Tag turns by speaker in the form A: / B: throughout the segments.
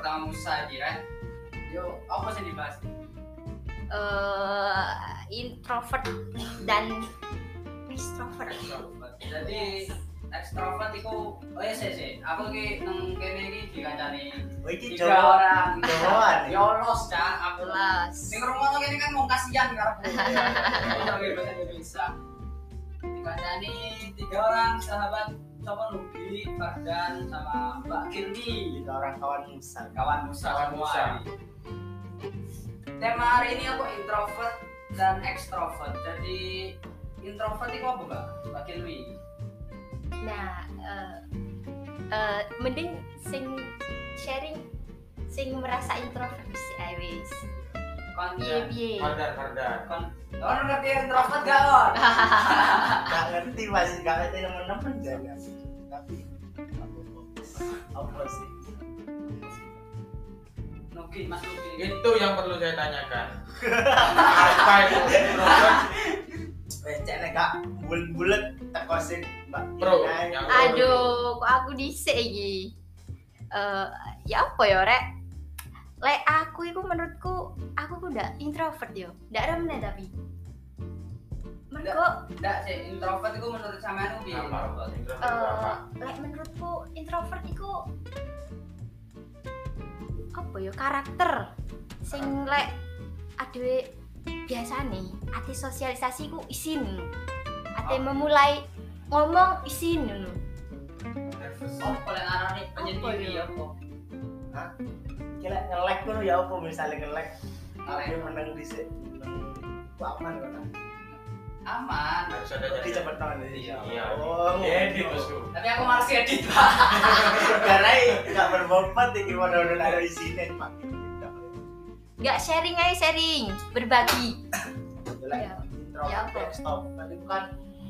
A: kamu saja yuk eh. apa sih dibahas
B: eh introvert dan extrovert
A: extrovert jadi ekstrovert itu oh ya sih sih aku ki nang kene iki dikancani
C: Oh, iki
A: tiga
C: Jawa.
A: orang
C: Jawaban.
A: ya los cak aku
B: plus
A: sing rumah kene kan mau kasihan karepmu
C: Iya,
A: Kita pakai bahasa Indonesia dikancani tiga orang sahabat Coba Lubi, Fardan, sama Mbak Kirni
C: Tiga orang kawan Musa.
A: kawan Musa
D: Kawan
A: semua.
D: Musa.
A: Tema hari ini aku introvert dan ekstrovert. Jadi introvert itu apa mbak? Mbak Kirni.
B: nah eh eh, mending sing sharing sing merasa introvert sih I wish Iya,
A: Kon
B: piye piye
D: Kardar, kardar.
A: kon. Kon ngerti introvert gak kon?
C: Gak ngerti mas, gak ngerti yang menemen jangan. Tapi apa sih?
A: Nugi mas Nugi.
D: Itu yang perlu saya tanyakan. Apa itu introvert?
C: Wes cek nek gak bulet-bulet teko sing Mbak
D: Bro,
C: Ina.
D: yang-
B: aduh kok aku dhisik iki Eh ya apa ya rek lek aku iku menurutku aku ku ndak introvert yo ndak remen tapi mergo
A: Nggak sih introvert itu menurut sama Nugi.
D: Apa? Introvert itu apa?
B: Eh, lek menurutku introvert iku apa ya karakter sing lek aduwe biasane ati sosialisasi ku isin ati
A: Ah.
B: memulai ngomong isin ngono
D: Nervous.
A: Oh boleh ngarang nih
B: Apa
A: penyetir
B: ya?
A: ya kok.
C: Kira nge-lag ngono ya apa misalnya nge-lag tapi
A: Nge-lag.
C: meneng dhisik. Ku aman kan.
A: Aman.
D: Harus ada
C: Tapi
D: jadwal.
C: cepet tangan ini.
D: Iya. gitu.
C: Oh,
D: Edit
C: bosku.
D: bosku.
A: Tapi aku males edit pak.
C: Karena gak berbobot iki padha-padha ada isine, Pak.
B: nggak sharing aja sharing berbagi
C: Jelek.
B: Iya. Ya,
C: Introvert,
B: apa?
C: extrovert itu kan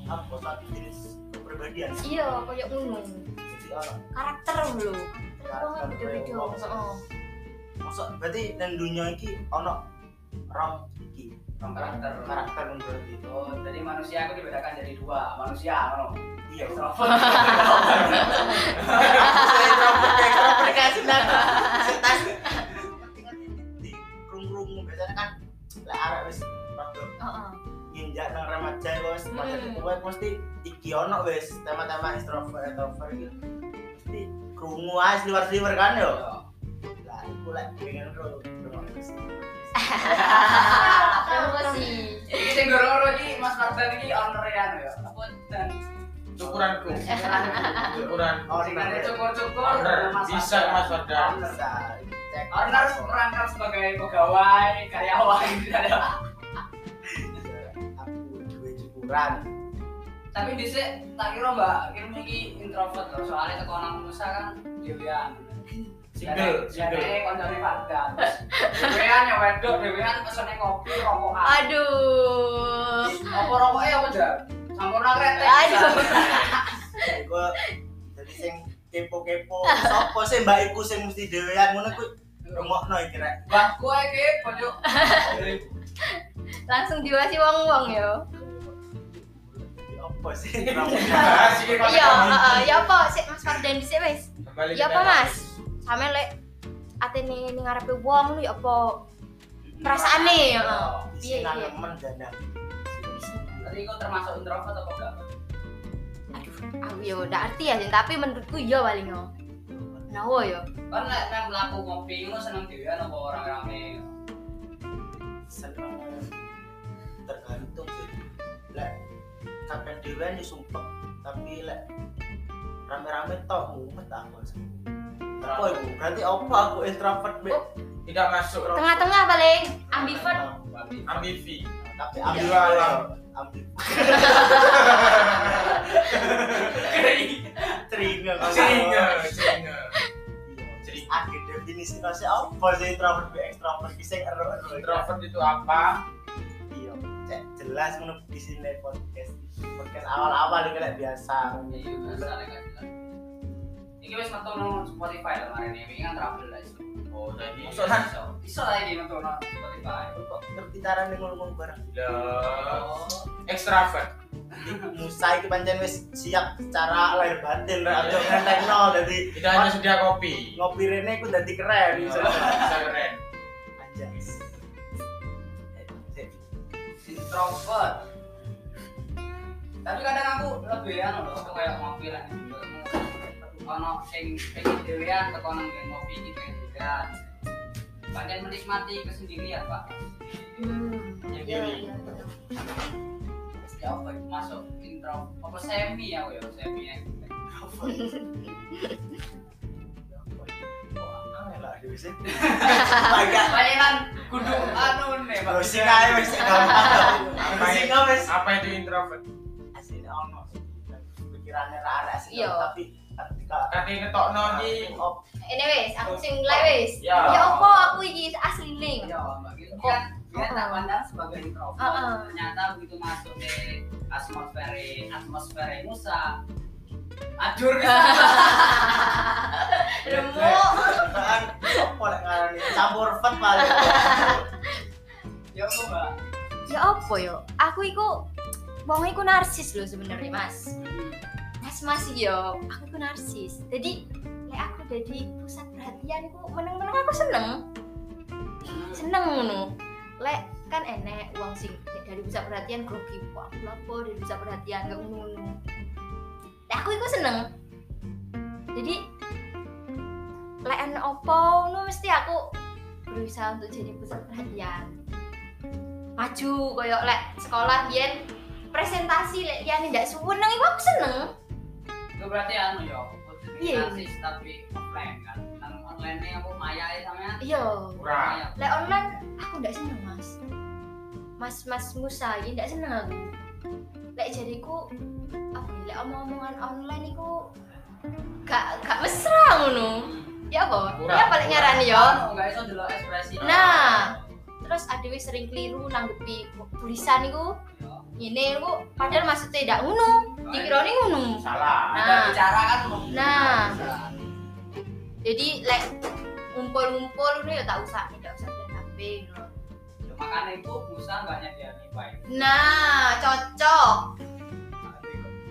C: apa satu ah, jenis kepribadian.
B: iya koyo ngono
C: Jadi orang
B: karakter lho karakter wong
C: Karakter
B: beda-beda
C: wong.
B: Heeh.
C: masuk berarti nang dunia iki ono rong iki rong
A: Karakter.
C: karakter menurut itu
A: Oh, jadi manusia aku dibedakan jadi dua manusia, no.
C: iya
A: Introvert.
B: kan
C: di rung-rung biasanya kan lah arek wis padha
B: Heeh.
C: nginjak nang remaja iku wis masa
B: Hmm.
C: tua mesti iki ono wis tema-tema introvert introvert gitu mesti krungu ae liwar-liwar kan yo lah iku lek pengen ro
B: promosi
A: Iki sing goro-goro iki Mas Mardan iki owner ya no ya. Apa dan
D: Cukuranku. Cukuran.
C: Oh,
A: singkatnya cukur-cukur
D: Owner.
A: Mas
D: Bisa
A: Mardan.
D: Mas Fardan.
A: Owner.
C: cek
A: Owner merangkap sebagai pegawai, karyawan gitu ada.
C: aku duwe cukuran
A: Tapi dhisik tak kira Mbak Kirmi iki introvert loh soalnya teko nang Musa kan dhewean.
D: Single, single.
A: Jadi koncone Fardan. Dhewean ya wedok, dhewean pesene ngopi, rokokan.
B: aduh
A: Apa rokoknya apa jar? Sampurna kretek.
B: Aduh.
C: gue jadi sing kepo-kepo sopo sih mbak iku sing mesti dhewean ngono kuwi rungokno iki rek
A: Mbak kowe iki pojok
B: langsung diwasi wong-wong ya. yo
C: opo sih
D: Bahas ini, Mas.
B: iya heeh, ya apa sik Mas Fardan dhisik wis
D: Kembali
B: Ya
D: ke
B: apa,
D: tema.
B: Mas? sampe lek atene ning ngarepe wong lu ya apa perasaane ya
C: Iya,
B: eh.
C: piye
B: Piye, piye?
C: nemen jandang
A: Tadi kau termasuk introvert apa enggak?
B: aduh aku yo ndak arti ya Jin, tapi menurutku iya paling yo nawa yo
A: Kan lek nang mlaku ngopi ngono seneng dhewean apa orang rame?
C: seneng tergantung sih lek sampe dhewean yo sumpek tapi lek rame-rame tok mumet aku sih apa iku berarti opo aku introvert be
B: Oh,
D: Tidak masuk Rob.
B: tengah-tengah paling ambivert
D: ambivi.
C: Nah, tapi
D: Jualan.
C: ambivalan ambivalan teringa
D: Single, single.
C: Jadi Iya. akhir definisi nasi apa sih introvert be extrovert bisa ero ero
D: Introvert itu apa?
C: iya cek jelas ngono di sini podcast podcast awal awal ini kayak biasa
A: Iya, biasa lek kan. Iki wis metu nang Spotify lho mari ini kan trouble lah iso.
D: Oh, tadi.
A: Iso lah iso. Iso lah iki metu nang Spotify. Oh,
C: kok ngerti cara nih ngomong bareng
D: Loh. Extrovert.
C: ibu Musa itu pancen wis siap secara lahir batin rek aja ngentekno dadi
D: Tidak hanya sedia kopi.
C: ngopi rene iku dadi keren
D: Bisa
A: Iya.
C: misalnya
D: bisa keren.
C: anjas Eh,
A: introvert tapi kadang aku lebih anu loh aku kayak ngopi lah gitu. ono sing pengen dewean teko nang nggen ngopi iki pengen dewean Kalian menikmati kesendirian pak
B: Hmm.
D: Jadi,
B: Iya, iya, iya.
A: pasti Ya apa itu masuk intro apa semi ya aku ya semi ya
C: Agak
A: kalian kudu anu nih pak
C: browsing aja wis gampang. Browsing aja wis
D: Apa itu introvert?
C: asli ono. Pikirannya ra arek asli
B: Iya.
C: tapi ketika
D: Kati ngetok noni.
C: Oh,
B: Ini wes, aku sing mulai wes.
D: Ya.
B: Ya opo aku iki asli ning.
A: ya mbak Gil
B: Oh,
A: kan dia tak pandang sebagai introvert
B: Heeh.
A: ternyata begitu masuk ke atmosfer atmosfer Musa acur
B: Remuk.
C: kan opo lek ngarani campur vet paling.
A: ya aku mbak
B: Ya opo yo? Aku iku wong iku narsis lho sebenarnya, Mas. Mas Mas yo, aku iku narsis. Jadi lek aku jadi pusat perhatian ku meneng-meneng aku seneng. Seneng ngono. Lek kan enek wong sing dari pusat perhatian grogi kok aku lapo dari pusat perhatian gak ngono. Lek aku iku seneng. Jadi lek enek opo ngono mesti aku berusaha untuk jadi pusat perhatian. maju koyo lek sekolah biyen presentasi lek liyane ndak seneng iku aku seneng
A: itu berarti anu ya
B: Iya.
A: narsis tapi offline kan Nang online nih aku maya ya sama
B: iya
D: Kurang.
B: lek online aku ndak seneng mas mas mas Musa ini ndak seneng aku lek jadiku apa ya, lek omong-omongan online iku gak gak mesra ngono ya apa
D: Kurang,
B: ya paling
D: kurang.
B: nyarani yo
A: Anu, Hmm. nggak iso delok ekspresi
B: Nah. terus adewe sering keliru nanggepi tulisan iku
A: Yo.
B: ngene iku padahal maksudnya ndak ngono dikirane ngono
D: Salah.
A: ada bicara kan mau
B: Nah.
A: bicara.
B: jadi lek ngumpul-ngumpul ini ya tak usah tidak usah lihat HP ngono.
A: Ya, makanya itu Musa banyak ya di baik
B: nah cocok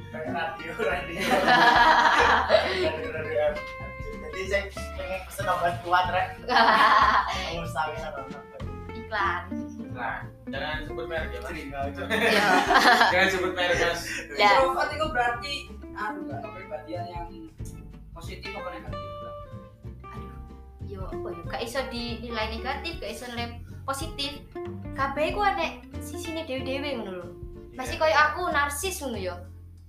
C: Kayak radio radio. Radio, radio. Jadi saya pengen pesen obat kuat rek. Pengusaha bisa obat kuat.
B: iklan
D: Nah, jangan sebut merek ya, Mas.
C: Jadi nggak itu.
B: ya
D: Jangan sebut merek, Mas.
B: Ya.
A: introvert itu berarti aduh nggak tahu kepribadian yang positif apa negatif kan?
B: yo apa yo gak iso dinilai negatif gak iso nilai positif kabeh ku enek sisine dewe-dewe ngono lho masih koyo aku narsis ngono yo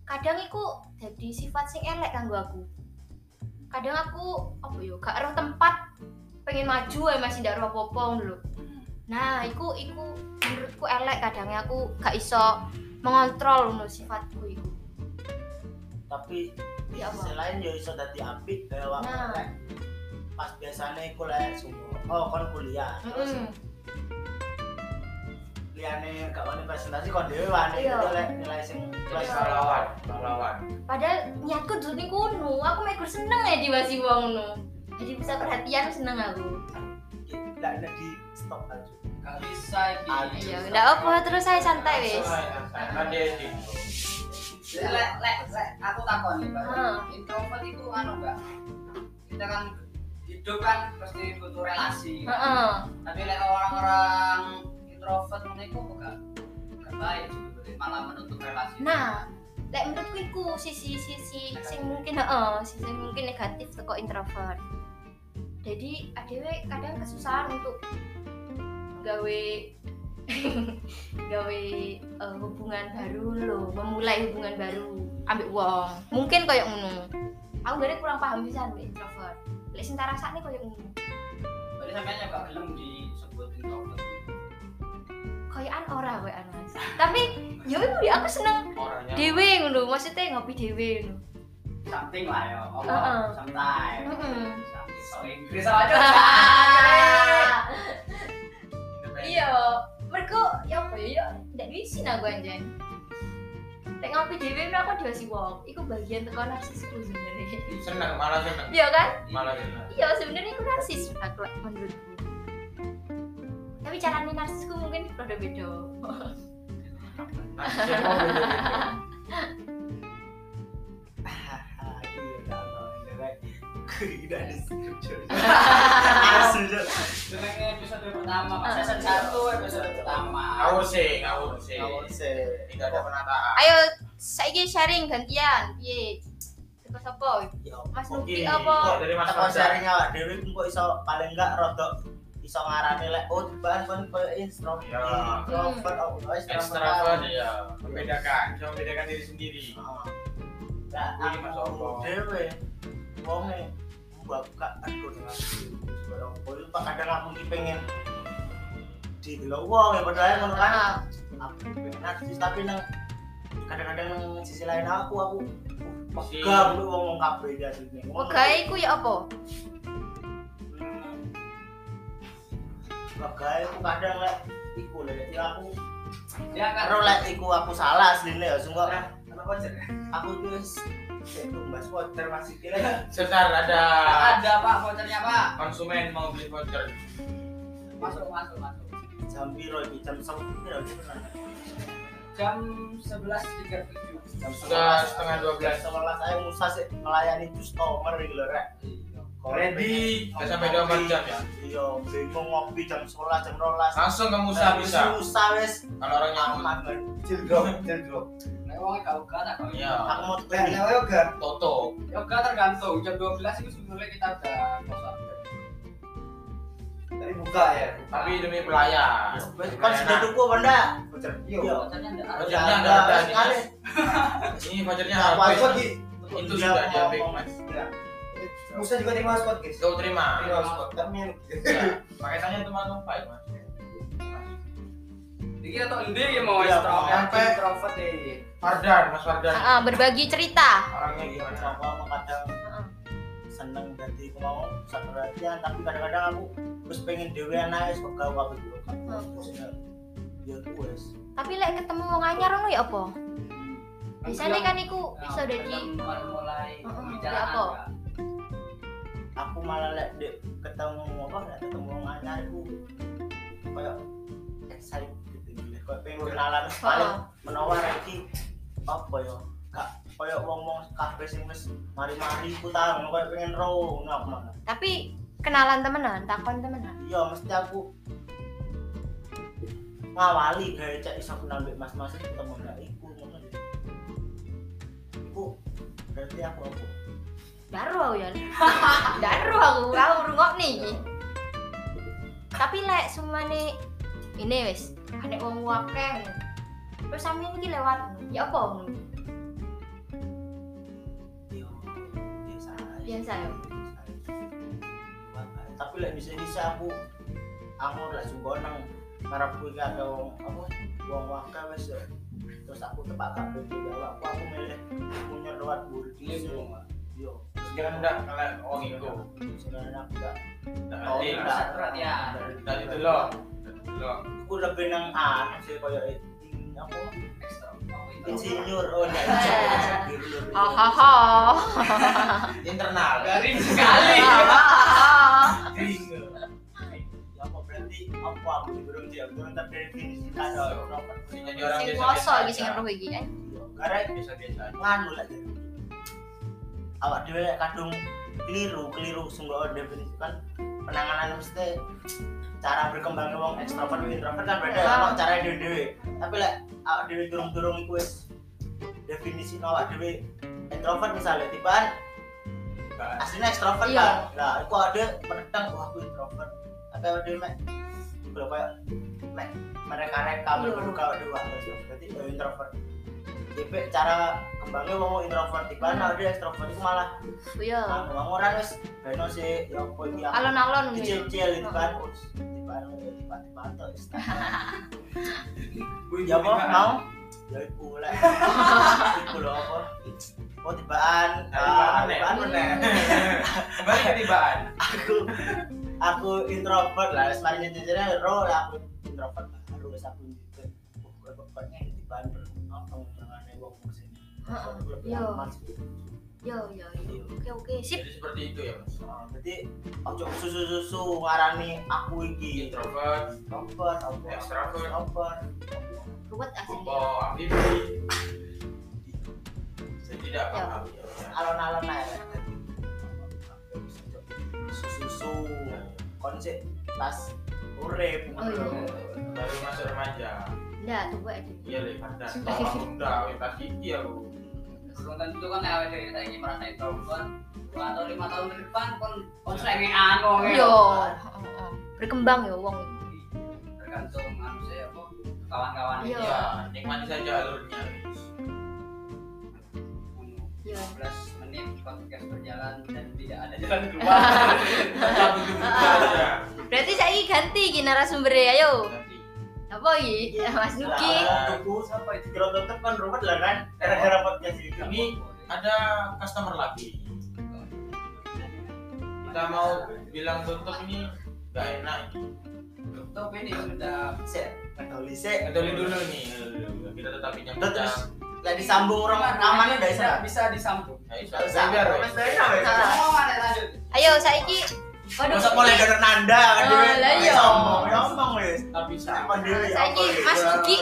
B: kadang iku jadi sifat sing elek kanggo aku kadang aku apa yo gak roh tempat pengen maju ae masih ndak roh apa-apa ngono lho Nah, iku iku menurutku elek kadangnya aku gak iso mengontrol ngono sifatku iku.
C: tapi
B: Ya, apa?
C: selain yo iso dadi apik dalam waktu
B: Nah.
C: lek pas biasanya iku lek subuh oh kon kuliah terus
B: Mm-mm.
C: liyane gak wani presentasi kon dhewe wani
B: Iya.
C: itu lek nilai sing plus
B: Iya.
D: Pahlawan, pahlawan.
B: Padahal niatku dulu nih kuno, aku mikir seneng ya diwasi wong ngono. Jadi bisa perhatian seneng aku.
C: lek nek di stop aja
A: nggak bisa ini
C: Ah,
B: Iya, ndak apa terus saya santai wis.
D: Kan dia di
A: Jadi, lek lek lek aku takon nih Pak.
B: Hmm.
A: introvert itu anu enggak kita kan hidup kan pasti butuh relasi
B: Heeh.
A: tapi lek orang-orang introvert mereka bukan bukan baik sebetulnya malah menutup relasi
B: Nah, lek menurutku iku sisi-sisi sing mungkin heeh, sisi sing mungkin negatif teko introvert. Jadi adewe kadang kesusahan untuk gawe gawe eh, hubungan baru lho, memulai hubungan baru ambek wong. Mungkin koyo ngono. Aku gare kurang paham bisa ambek introvert. Lek sing tak rasakne koyo ngono.
A: berarti sampean juga belum disebut introvert
B: Koyokan ora koyokan Mas. Tapi yo iku ya aku seneng
D: orangnya.
B: dhewe ngono, maksudnya ngopi dhewe ngono.
A: something lah ya apa
B: Heeh.
A: sometimes
B: Heeh.
A: something so Inggris Ah. aja
D: Independen.
B: iya mereka ya apa ya ya tidak diisi aku anjen Nek ngopi dhewe men aku diwasi wong iku bagian teko narsisku sebenarnya
D: Seneng, malah seneng.
B: iya kan
D: Malah seneng.
B: iya sebenarnya aku narsis aku menurutku tapi caranya narsisku mungkin beda beda
D: Nah, saya mau beda-beda.
C: Iya, tidak ada scripture asli Cok.
A: Dengan episode pertama, Pak. season satu episode pertama.
D: ngawur sih ngawur sih
C: Ngawur sih.
D: tidak ada penataan
B: ayo saiki sharing gantian piye sapa sapa
C: Ya,
B: Mas
C: oke.
B: Nugi apa?
D: Kok dari Mas
C: Teko
D: Fajar?
C: sharingnya lah Dewi kok iso Iya. paling enggak rodok iso ngarani lek oh bahan kon koyo introvert
D: Ya.
C: introvert oh oh,
D: ekstravert ya membedakan bisa membedakan diri sendiri
C: Ah. Lah
D: Wih, Mas
C: aku
D: Opo.
C: dewe wonge buka aku dengan Soalnya aku itu pak kadang aku ki pengen di wong ya padahal ngono kan aku pengen narsis tapi nang kadang-kadang nang sisi lain aku aku uh,
D: Sisi-
C: megah lu wong wong kabeh ya sini
B: Megae iku ya apa?
C: megah aku kadang lek iku lek jadi aku
A: Ya kan.
C: karo lek iku aku salah asline ya sungguh
A: Eh,
D: Nah,
C: aku
A: ya?
C: aku wis sik mbas water masih kira
D: sebentar ada
A: Nggak Ada Pak vouchernya Pak.
D: konsumen mau beli voucher
A: Masuk masuk masuk.
C: jam piro iki jam 10 piro iki tenan?
A: Jam 11.37.
C: Jam
D: Sudah
C: 11,
D: setengah 12.
C: jam 11 ayo Musa sih melayani customer iki lho rek.
D: Ready. Nggak sampai 24 jam ya?
C: Iya, bingung ngopi jam 11 jam 12.
D: langsung ke Musa bisa
C: Musa wis
D: kalau orang nyaman
C: aman kan.
E: Cildrop, cildrop.
A: Nah, uangnya gak ogah tak kok.
D: ya
C: Aku mau
E: Nah,
C: tuh.
E: nyawa yoga.
D: Toto
A: Ya ogah tergantung jam 12 itu sebenarnya kita ada kosong.
E: Tadi buka ya.
D: tapi demi pelayan
C: Kan sudah tuku apa ndak?
E: Voucher.
C: Iya.
E: Yo.
A: Vouchernya nggak ada.
D: Vouchernya nggak ada,
C: Nggak,
D: ini.
C: sekali.
D: ini vouchernya
C: Nggak
E: Mas
D: habis
E: Pod di.
D: itu sudah
C: Nggak,
D: diambil
C: Iya, ngomong.
D: mas
E: Ya. Musa juga terima spot guys.
D: itu terima
E: Terima spot. Kami
D: Ya, pakai tanya teman lupa ya mas
A: Jadi kita tuh endi ya mau
C: Iya,
A: introvert,
C: mau
D: apa?
A: introvert eh. deh.
D: Fardan mas Fardan
B: Heeh, berbagi cerita.
D: orangnya
C: Iya,
D: gimana
C: kenapa emang kadang
B: Heeh.
C: seneng dadi aku mau pusat perhatian tapi kadang-kadang aku terus pengen dhewean ae kok gawe aku dulu. Ya wes.
B: Tapi lek ketemu wong anyar ngono ya apa? Biasanya kan iku
A: Nah,
B: iso dadi
A: belum baru mulai
B: Heeh,
A: pembicaraan.
B: apa?
A: Pak.
C: aku malah lek dek ketemu apa lek ketemu wong anyar aku kayak excited gitu lek kayak pengen kenalan paling menawa iki apa ya gak kayak wong-wong kabeh sing wis mari-mari ku ta ngono kayak pengen ro ngono aku malah.
B: tapi kenalan temenan, takon temenan.
C: iya mesti aku ngawali gawe cek iso kenal mbek mas-mas itu ketemu gak iku ngono lho. iku berarti aku apa
B: Daru aku ya. Daru aku, aku rungokne iki. Tapi lek sumane ini wis, anek wong akeh. Terus sampeyan iki lewat. Ya apa ngono?
C: yo biasa ae.
B: Biasa ya.
C: tapi lek bisa bisa aku aku lek sungguh nang ngarep kuwi karo wong apa wong wakil wis ya. terus aku tepak kabeh jawab aku aku milih punya lewat burdi
A: Ini
D: Iya,
A: belum, Pak.
C: yo
D: jangan enggak kalian oh Nah, iya, itu
C: sebenarnya aku gak
D: Nggak
C: tau
D: ada.
C: gak
A: perhatian.
D: dari ya. itu loh loh
C: aku lebih nang aneh sih koyo eh, apa
A: Ekstra. Mau
B: Iya
A: introvert.
C: insinyur oh ndak
B: Eh.
C: insinyur
B: Hahaha.
D: internal
A: Garing sekali.
C: ya apa berarti apa aku belum siap belum terdefinisi ada proper
D: Ini jadi orang
B: Sing
D: biasa
B: kuasa iki sing roh iki. eh.
C: yo karena
D: biasa biasa aja
C: nganu lah jadi. awak dhewe lek kadung keliru keliru sungguh awak definisi kan penanganan mesti cara berkembang wong ekstrovert wong introvert kan beda
B: Ya.
C: ya cara dhewe dhewe tapi lek awak dhewe durung-durung iku wis definisi awak dhewe introvert misalnya tiba aslinya ekstrovert
B: Iya.
C: kan nah aku ada menentang wah aku introvert tapi awak dhewe mek kalau kayak mek mereka-reka
B: Iya.
C: berduka awak dhewe aku introvert. berarti ya introvert tapi cara kembangnya wong introvert tiba nah dia ekstrovert itu malah
B: Iya.
C: Aku mau orang wis beno sih ya apa iki aku
B: Alon-alon Iya, ngono.
C: dicil-cil gitu kan. Us, tiba-tiba tiba-tiba tuh
A: Gue
C: Ya apa
A: juga.
C: mau? Ya iku lek. Iku lho apa? Oh tibaan,
D: Tibaan,
C: Ah, tibaan meneh.
B: iya.
D: kembali ketibaan
C: Aku aku introvert lah, wis mari nyencil-cil ro lah aku introvert baru wis aku gitu. Oh, kok- kok- koknya tibaan ber- apa ngomongane wong sini. gitu.
B: Heeh.
C: Aku lebih
B: Yo.
C: aman sih.
B: Yo yo yo. Iya, Oke oke, sip.
D: jadi seperti itu ya mas
C: Ah, Jadi ojo susu-susu ngarani aku iki
D: introvert
C: Introvert, apa?
D: Extrovert.
C: Introvert.
B: Ruwet ah, asli.
D: bobo ambibi saya tidak paham ya.
C: alon-alon aja nesu konsep tas urip
B: Oh, iya.
D: baru masuk remaja
B: Nggak, tunggu aja.
D: iya le pada tolak muda kita gigi aku
A: Sebentar itu kan awal dari kita ini merasa introvert dua atau lima tahun ke depan kon kon selengean kok ya.
B: Yo, heeh. berkembang ya wong.
A: tergantung manusia apa kawan-kawan
B: Iya.
A: itu.
D: ya nikmati saja alurnya
A: Iya.
B: Yo.
A: 15 menit podcast berjalan dan tidak ada jalan keluar.
D: kita butuh buka aja
B: Berarti saya ganti iki narasumbernya ayo.
D: nanti
B: Apa iki? Mas Nuki.
C: tubuh sampai di tetep kan rumah lah kan era-era podcast
A: Iya.
C: ini
D: ini ada customer lagi kita mau bilang tutup ini nggak enak ini
A: Tutup ini sudah
C: saya peduli
D: Eh,
C: saya
D: dulu dulu nih eh, kita tetap pinjam
C: terus lah disambung orang
B: Iya.
C: namanya dari
A: tidak
C: sana
A: bisa disambung.
D: Nah, itu
C: Bisa,
D: biar
C: Mas Dena,
D: iya,
C: wes.
B: Ah.
A: Mau ada lanjut.
B: Ayo saiki. Waduh.
C: Masa mulai dari Nanda kan
B: Oh,
C: Dewi?
B: lah iya.
C: Sombong, ya, sombong wis.
D: tapi
C: Apa
D: sama
C: Dewi?
B: Saya
C: Apa,
B: ini
C: wis?
B: Mas Nuki.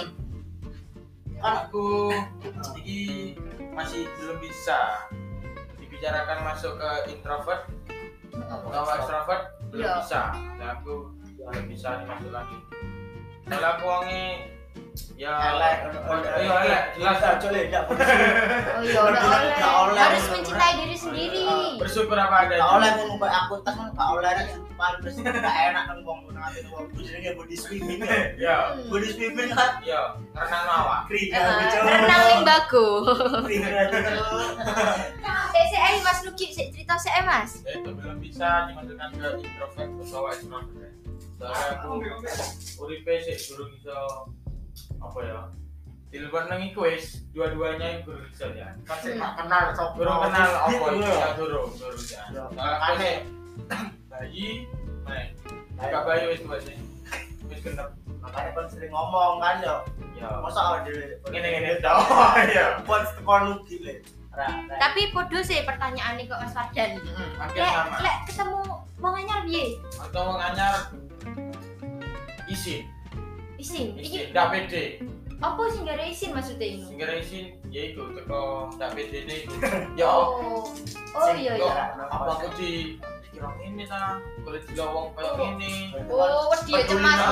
D: aku ini masih belum bisa dibicarakan masuk ke introvert atau extrovert belum
B: Iya.
D: bisa nah, aku belum bisa dimasuk lagi kalau aku wangi ya
C: Elek,
D: Oh, iya elek jelas
C: Jelas aja, Le. Nggak boleh.
B: Oh iya,
C: Nggak
B: udah
C: boleh, nggak
B: oleh.
C: oleh.
B: Harus mencintai diri sendiri.
D: bersyukur apa
C: Nggak oleh
D: adanya
C: ngubah aku tas kan nggak oleh ada yang paling bersih nggak enak kan ngomong nanti ngomong jadi body swimming ya.
D: ya
C: body swimming kan
D: ya renang lawa
C: kering
B: Hmm. Eh,
C: kan, jauh.
B: Renang limbago.
C: Kering kan, jauh.
B: Saya saya Mas Nuki, saya cerita saya Mas.
D: Ya, itu belum bisa dimasukkan ke introvert atau extrovert soalnya aku uripe sih durung iso apa ya di luar nang iku wis dua-duanya yang durung iso ya kan sih
B: Hmm.
C: Nggak kenal sok
D: durung kenal apa
C: Gitu,
D: itu
C: loh.
D: ya durung durung ya
C: Ya,
D: Soalnya aku
C: aneh.
D: sih bayi main gak bayi wis dua sih wis genep
C: makanya kan sering ngomong kan yo
D: ya
C: masa kalau di
D: ngene ngene tau ya
C: buat sekolah lu gile Ra- ra-
B: Tapi podo sih pertanyaannya kok Mas Fardan.
D: akhir
B: Lek,
D: sama
B: lek ketemu wong anyar piye?
D: atau mau nganyar isin
B: Isin. Iki
D: isin gak pede
B: apa sih gak ada isin maksudnya ini?
D: sehingga isin ya itu teko gak pede deh ya
B: Oh. Oh iya iya.
D: Yo, apa aku di dikira ini lah boleh di lowong kayak
B: Oh.
D: ini
B: Oh, wedi ya
C: Nah,
B: cemas
D: Peduli
B: gitu.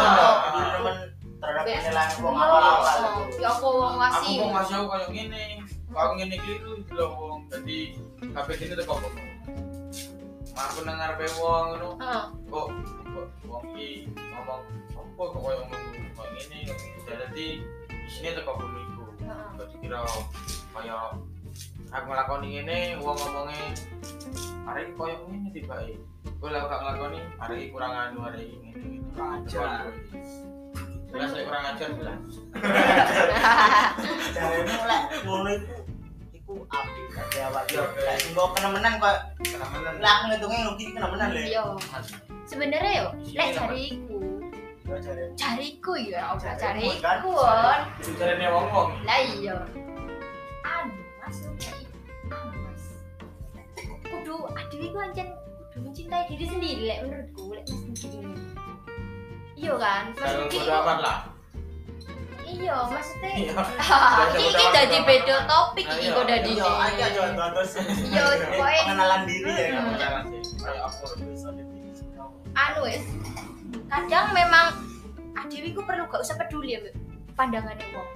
C: peduli
D: banget.
C: temen terhadap
B: Best.
C: penilaian
B: Oh,
C: wong apa-apa
B: ya apa wong
D: aku
B: wasi.
D: mau ngasih aku kayak gini kalau gini keliru di lowong jadi HP ini tuh kok Mak aku dengar pe wong ngono
B: Heeh.
D: kok kok wong iki ngomong apa kok kayak ngomong kayak gini kayak gini. jadi isinya tuh kok iku
B: Heeh.
D: gak dikira kayak aku ngelakoni ini wong ngomongnya hari ini koyok ini tiba eh gue lah gak ngelakoni hari ini kurang anu hari ini ini, ini kurang ajar jelas ya kurang ajar jelas
C: Jarene lek ngono iku iku api dadi awak yo.
D: Oke.
C: Lek engko kenemenan kok
D: teman-teman
C: lek aku ngitunge rugi kenemenan lho.
B: Yo. Sebenarnya yo,
D: Iya,
B: lek jariku,
C: Yo jare.
B: jariku ya, ora
C: Jarimu,
B: jariku.
C: kan?
B: Won.
D: caranya wong wong
B: Lah iya. Anu Mas Nuki, anu Mas. Kudu aduh iku ancen kudu mencintai diri sendiri lek menurutku lek Mas Nuki ini. Iya kan? Mas
D: kalau
B: Nuki
D: bodo amat lah
B: iya maksudnya
D: Iya.
B: Hahaha,
D: Iya,
B: iki
D: iya,
B: dadi
D: iya.
B: beda topik iki
D: Iya,
B: kok dadi
C: Yo aja yo terus.
B: Yo, pokoknya-
C: pengenalan diri ya
D: Nggak
C: kan.
B: Hmm.
D: pacaran Iya, sih kayak aku
C: Bisa definisi.
B: anu wis kadang memang adewi ku perlu gak usah peduli ya Mbak, pandangannya wong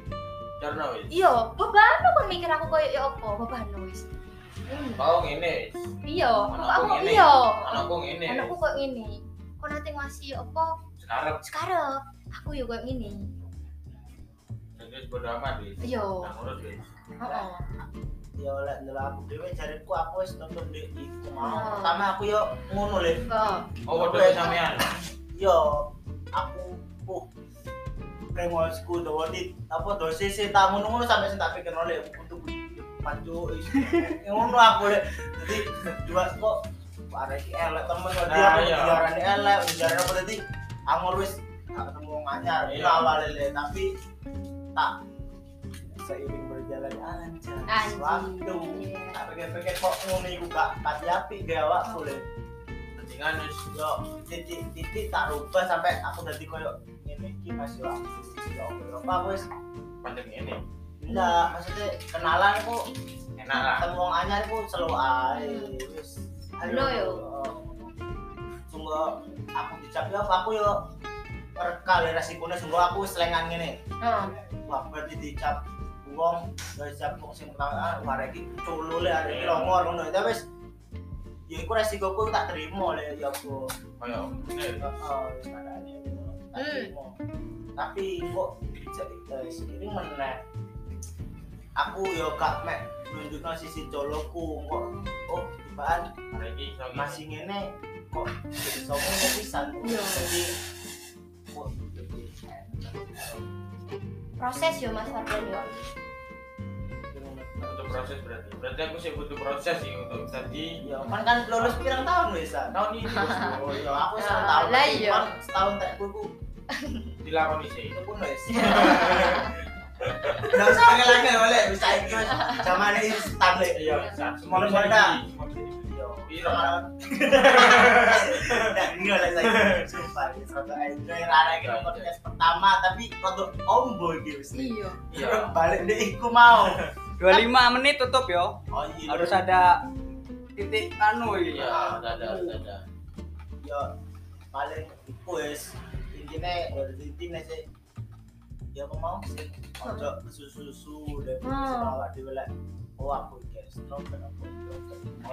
D: jarno wis
B: iya bebano kon mikir aku koyo ya apa bebano wis Hmm,
D: kau ngene
B: iya
D: Anakku
B: kok aku
D: ngene.
B: iya
D: anakku ngene
B: anakku kok ini kok nanti ngasih apa
D: sekarang
B: sekarang aku ya koyo ini
D: jadi bodo amat wis
B: iya
D: Nah, ngurut wis
B: heeh
C: Yo lek ndelok aku dhewe jareku aku wis nonton di iku
B: Oh.
C: mau. Pertama aku yo ngono lho.
B: Heeh.
D: oh bodo sampean
C: yo aku uh premosku dawani apa dosis sih tak ngono ngono sampai sing tak pikir oleh untuk pacu is- eh, ngono aku lek jadi dua kok ada iki elek temen kok dia
D: Nah,
C: apa
D: iya.
C: diarani elek diarani apa jadi aku wis tak ketemu wong anyar
D: Iya.
C: itu awalnya le tapi tak seiring berjalan aja
B: Anjing.
C: waktu
B: Iya.
C: tak pikir-pikir kok ngono iku gak pati api gawe awakku le
D: mendingan wis
C: yo titik-titik tak rubah sampai aku dadi koyo ngene iki Mas yo. Yo apa wis
D: pancen ngene
C: enggak maksudnya kenalan ku
D: enak lah
C: ketemu wong anyar ku selalu ae wis.
B: Lo yo.
C: Sungguh sungguh aku dicapi apa aku yo rekal resikonya sungguh aku selengan ngene.
B: Oh,
C: Wah berarti dicap wong dari dicap wong sing pertama ah, wah iki culu le arek iki longo ngono. Tapi wis ya iku resikoku tak terima le ya aku.
D: kayak
C: Heeh,
D: ini
C: wis kandhane ngono. Tak
B: Hmm.
C: terima. Tapi kok jadi eh, seiring meneh aku yo gak mek nunjukno sisi coloku kok oh tibaan
D: hari ini iso gini.
C: masih ngene kok iso ngono pisan
B: Iya.
C: jadi kok jadi
B: proses yo Mas Fardan yo.
D: butuh proses berarti berarti aku sih butuh proses sih untuk tadi
C: Ya, kan kan lulus pirang tahun wis San?
D: tahun ini bosku
C: Oh iya, aku
B: Ya,
C: setahun tahun.
B: lah iya.
C: Kan setahun tak kuku
D: dilakoni sih
C: itu pun wis. Enggak usah angel-angel boleh bisa iki wis. Zamane instan lek.
D: iya
C: Semono sadar. Iya.
D: Piro?
C: Nah, enggak lah saya. Sumpah, ini suatu enjoy rara gitu podcast pertama tapi untuk ombo iki wis.
B: Iya.
D: iya
C: Balik deh iku mau.
A: 25 menit tutup yo.
C: Oh iya.
A: Harus ada titik anu ya.
D: iya ada ada ada
C: ya paling iku wis intine berarti intine sih ya apa mau sih ojo susu-susu dan
B: Hmm.
C: bisa bawa dhewe lek oh aku iki wis no ben aku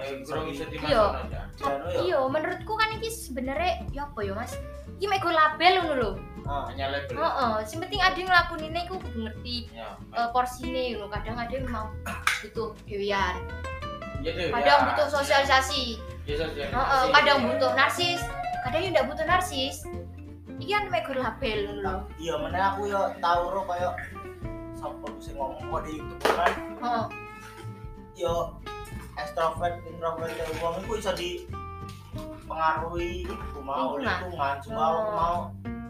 D: oh iya kurang bisa
B: Iya.
D: dimasukkan aja
C: Jano ya
B: Iya, menurutku kan iki sebenarnya ya apa yo Mas? Iki mek go label ngono lho.
C: ah
D: hanya label
B: Heeh, sing penting ade nglakunine iku kudu ngerti
D: iya
B: eh, porsine ngono. Kadang ade mau butuh dewean,
D: Iya, Dew,
B: kadang
D: ya.
B: butuh sosialisasi,
D: Iya, sosialisasi.
B: heeh, kadang butuh narsis, kadang yo ndak butuh narsis. Iki kan mek go label ngono lho.
C: iya meneh aku yo tau ro koyo sapa ku sing ngomong kok di YouTube kan
B: Heeh.
C: yo extrovert introvert ya wong iku iso di pengaruhi iku mau
B: Lingkungan.
C: lingkungan cuma aku
B: Oh.
C: mau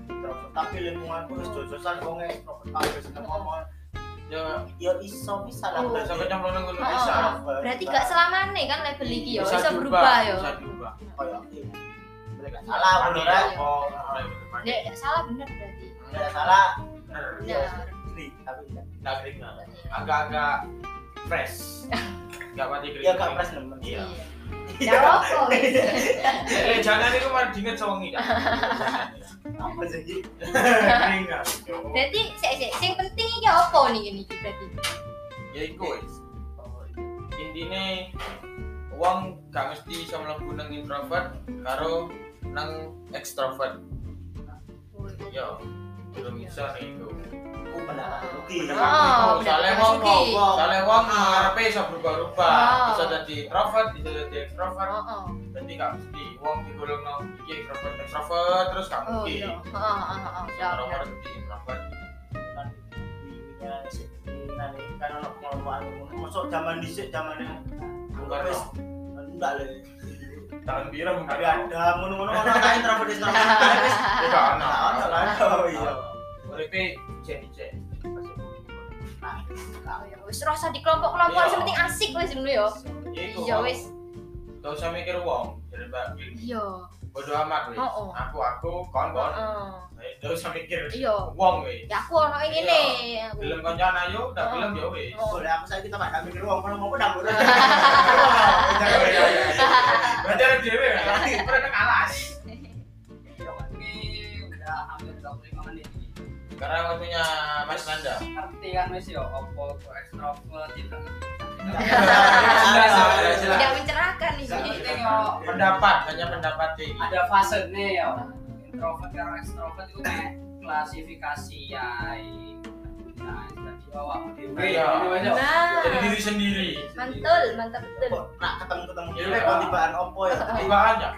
C: introvert tapi lingkunganku wis jojosan wong extrovert kabeh seneng ngomong
D: Ya,
C: ya iso bisa lah
B: Oh.
D: bisa kecemplung nang kono
B: Oh,
D: bisa.
B: oh, Berarti gak selamane kan label iki yo
D: Bisa
B: bisa berubah ya. yo.
D: Bisa berubah.
C: Kayak gitu. Mereka salah bener ya oh
D: Mulai berubah.
B: Nek nek salah bener berarti.
C: nggak salah
D: Bener.
C: Iya.
B: Bener.
C: Kri, tapi enggak
D: Nggak kering, nggak. Agak-agak fresh. Enggak mati kering.
C: ya gak pres nemen
D: Iya.
B: Ya rokok. wis.
D: Eh, jangan iku mari diinget sewengi.
C: apa jadi
D: Kering, nggak?
B: Berarti sik sik sing penting iki apa nih ini iki berarti?
D: Ya iku wis.
C: Oh,
D: Intine wong gak mesti iso mlebu nang introvert karo nang Ya, ekstrovert. Yo, Iya, belum bisa nih itu.
C: aku pendapat rugi
D: Pendapat.
B: Oh,
D: Soalnya wong
B: Oh,
C: ngomong.
D: Soalnya wong ah, ngarepe iso berubah-ubah,
B: Ah.
D: bisa jadi introvert, bisa jadi ekstrovert.
B: oh.
D: Jadi gak mesti wong digolong nang iki introvert, ekstrovert terus gak
B: Oh,
D: mungkin.
B: iya. Oh, oh, oh, oh,
D: Bisa
B: iya,
D: Introvert
B: bener.
D: jadi introvert.
C: kan ininya sih ininya nih, kan ono pengelolaan ngono. Masuk zaman dhisik zaman yang
D: Bukan
C: wis
D: wis
C: enggak le
D: tahun biru
C: tapi ada ngono-ngono ono tak introvert introvert wis
D: Enggak ana.
C: enggak ono lah oh iya
D: Uripe dicek-dicek.
B: Oh, iya. Wis rasa di kelompok-kelompok
D: Iya.
B: sing penting asik wis dulu yo.
D: Ya iku.
B: Iya wis.
D: Gak usah mikir wong, jadi Mbak Bin.
B: Iya.
D: Bodo amat wis.
B: Oh, oh.
D: Aku aku kon-kon.
B: Heeh.
D: Gak usah mikir
B: Iya.
D: wong wis.
B: Ya aku ono yang ngene. Aku.
D: Film koncoan ayo, udah
B: Oh.
D: film ya wis.
B: Oh.
C: boleh aku saya kita pada mikir wong ngono mau pedang ngono.
D: Berarti ada dhewe ya. Pernah nang alas.
A: Iya, Ini udah hampir 25 menit ini.
D: Karena waktunya Mas Nanda.
A: Ngerti kan wis yo opo kok ekstrovert gitu? tidak
B: Tidak mencerahkan nih.
A: Yang penting yo
D: Pendapat, hanya pendapat sih.
A: ada fase nih yo. Introvert karo ekstrovert itu kayak klasifikasi ya. Nah, jadi awakmu dhewe.
D: Iya.
A: Ngono wis, yo.
B: Nah.
D: Jadi diri sendiri.
B: Mantul, mantap betul.
C: Kok nak Nah, ketemu-ketemu
D: Iya.
C: dhewe kok tibaan opo ya.
D: Tibaan ya.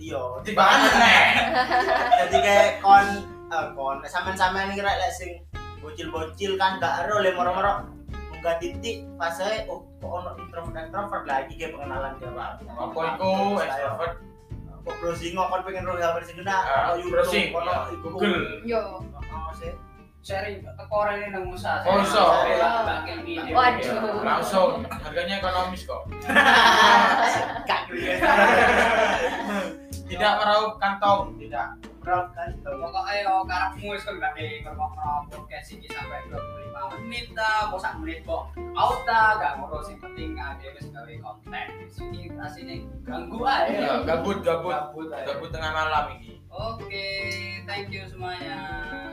C: Iya,
D: Tibaan meneh.
C: jadi kayak kon eh, kon sampean-sampean iki rek lek sing bocil-bocil kan gak ero le moro-moro munggah titik fase oh kok ono introvert introvert lagi kayak pengenalan dia Pak.
D: Apa iku extrovert?
C: Kok browsing kok kon pengen roh gambar sing kena
D: Ah,
C: kok YouTube,
D: browsing,
C: kono
D: iya,
C: iku.
D: Google.
B: Yo.
C: Oh, sih.
A: Sharing teko rene nang Musa.
D: Oh, iso.
B: Waduh.
D: Ya, Langsung harganya ekonomis kok.
C: Gak kira.
D: Tidak meraup kantong, tidak.
E: ngobrol kan kalau
A: pokoknya yo karepmu wis kembali ngerokok podcast iki sampai 25 menit ta, kok sak menit kok out ta, gak ngurus sing penting ada wis gawe konten. Wis iki asine ganggu
D: Iya,
A: ae.
D: gabut gabut
E: gabut aja.
D: gabut tengah malam ini
A: Oke, thank you semuanya.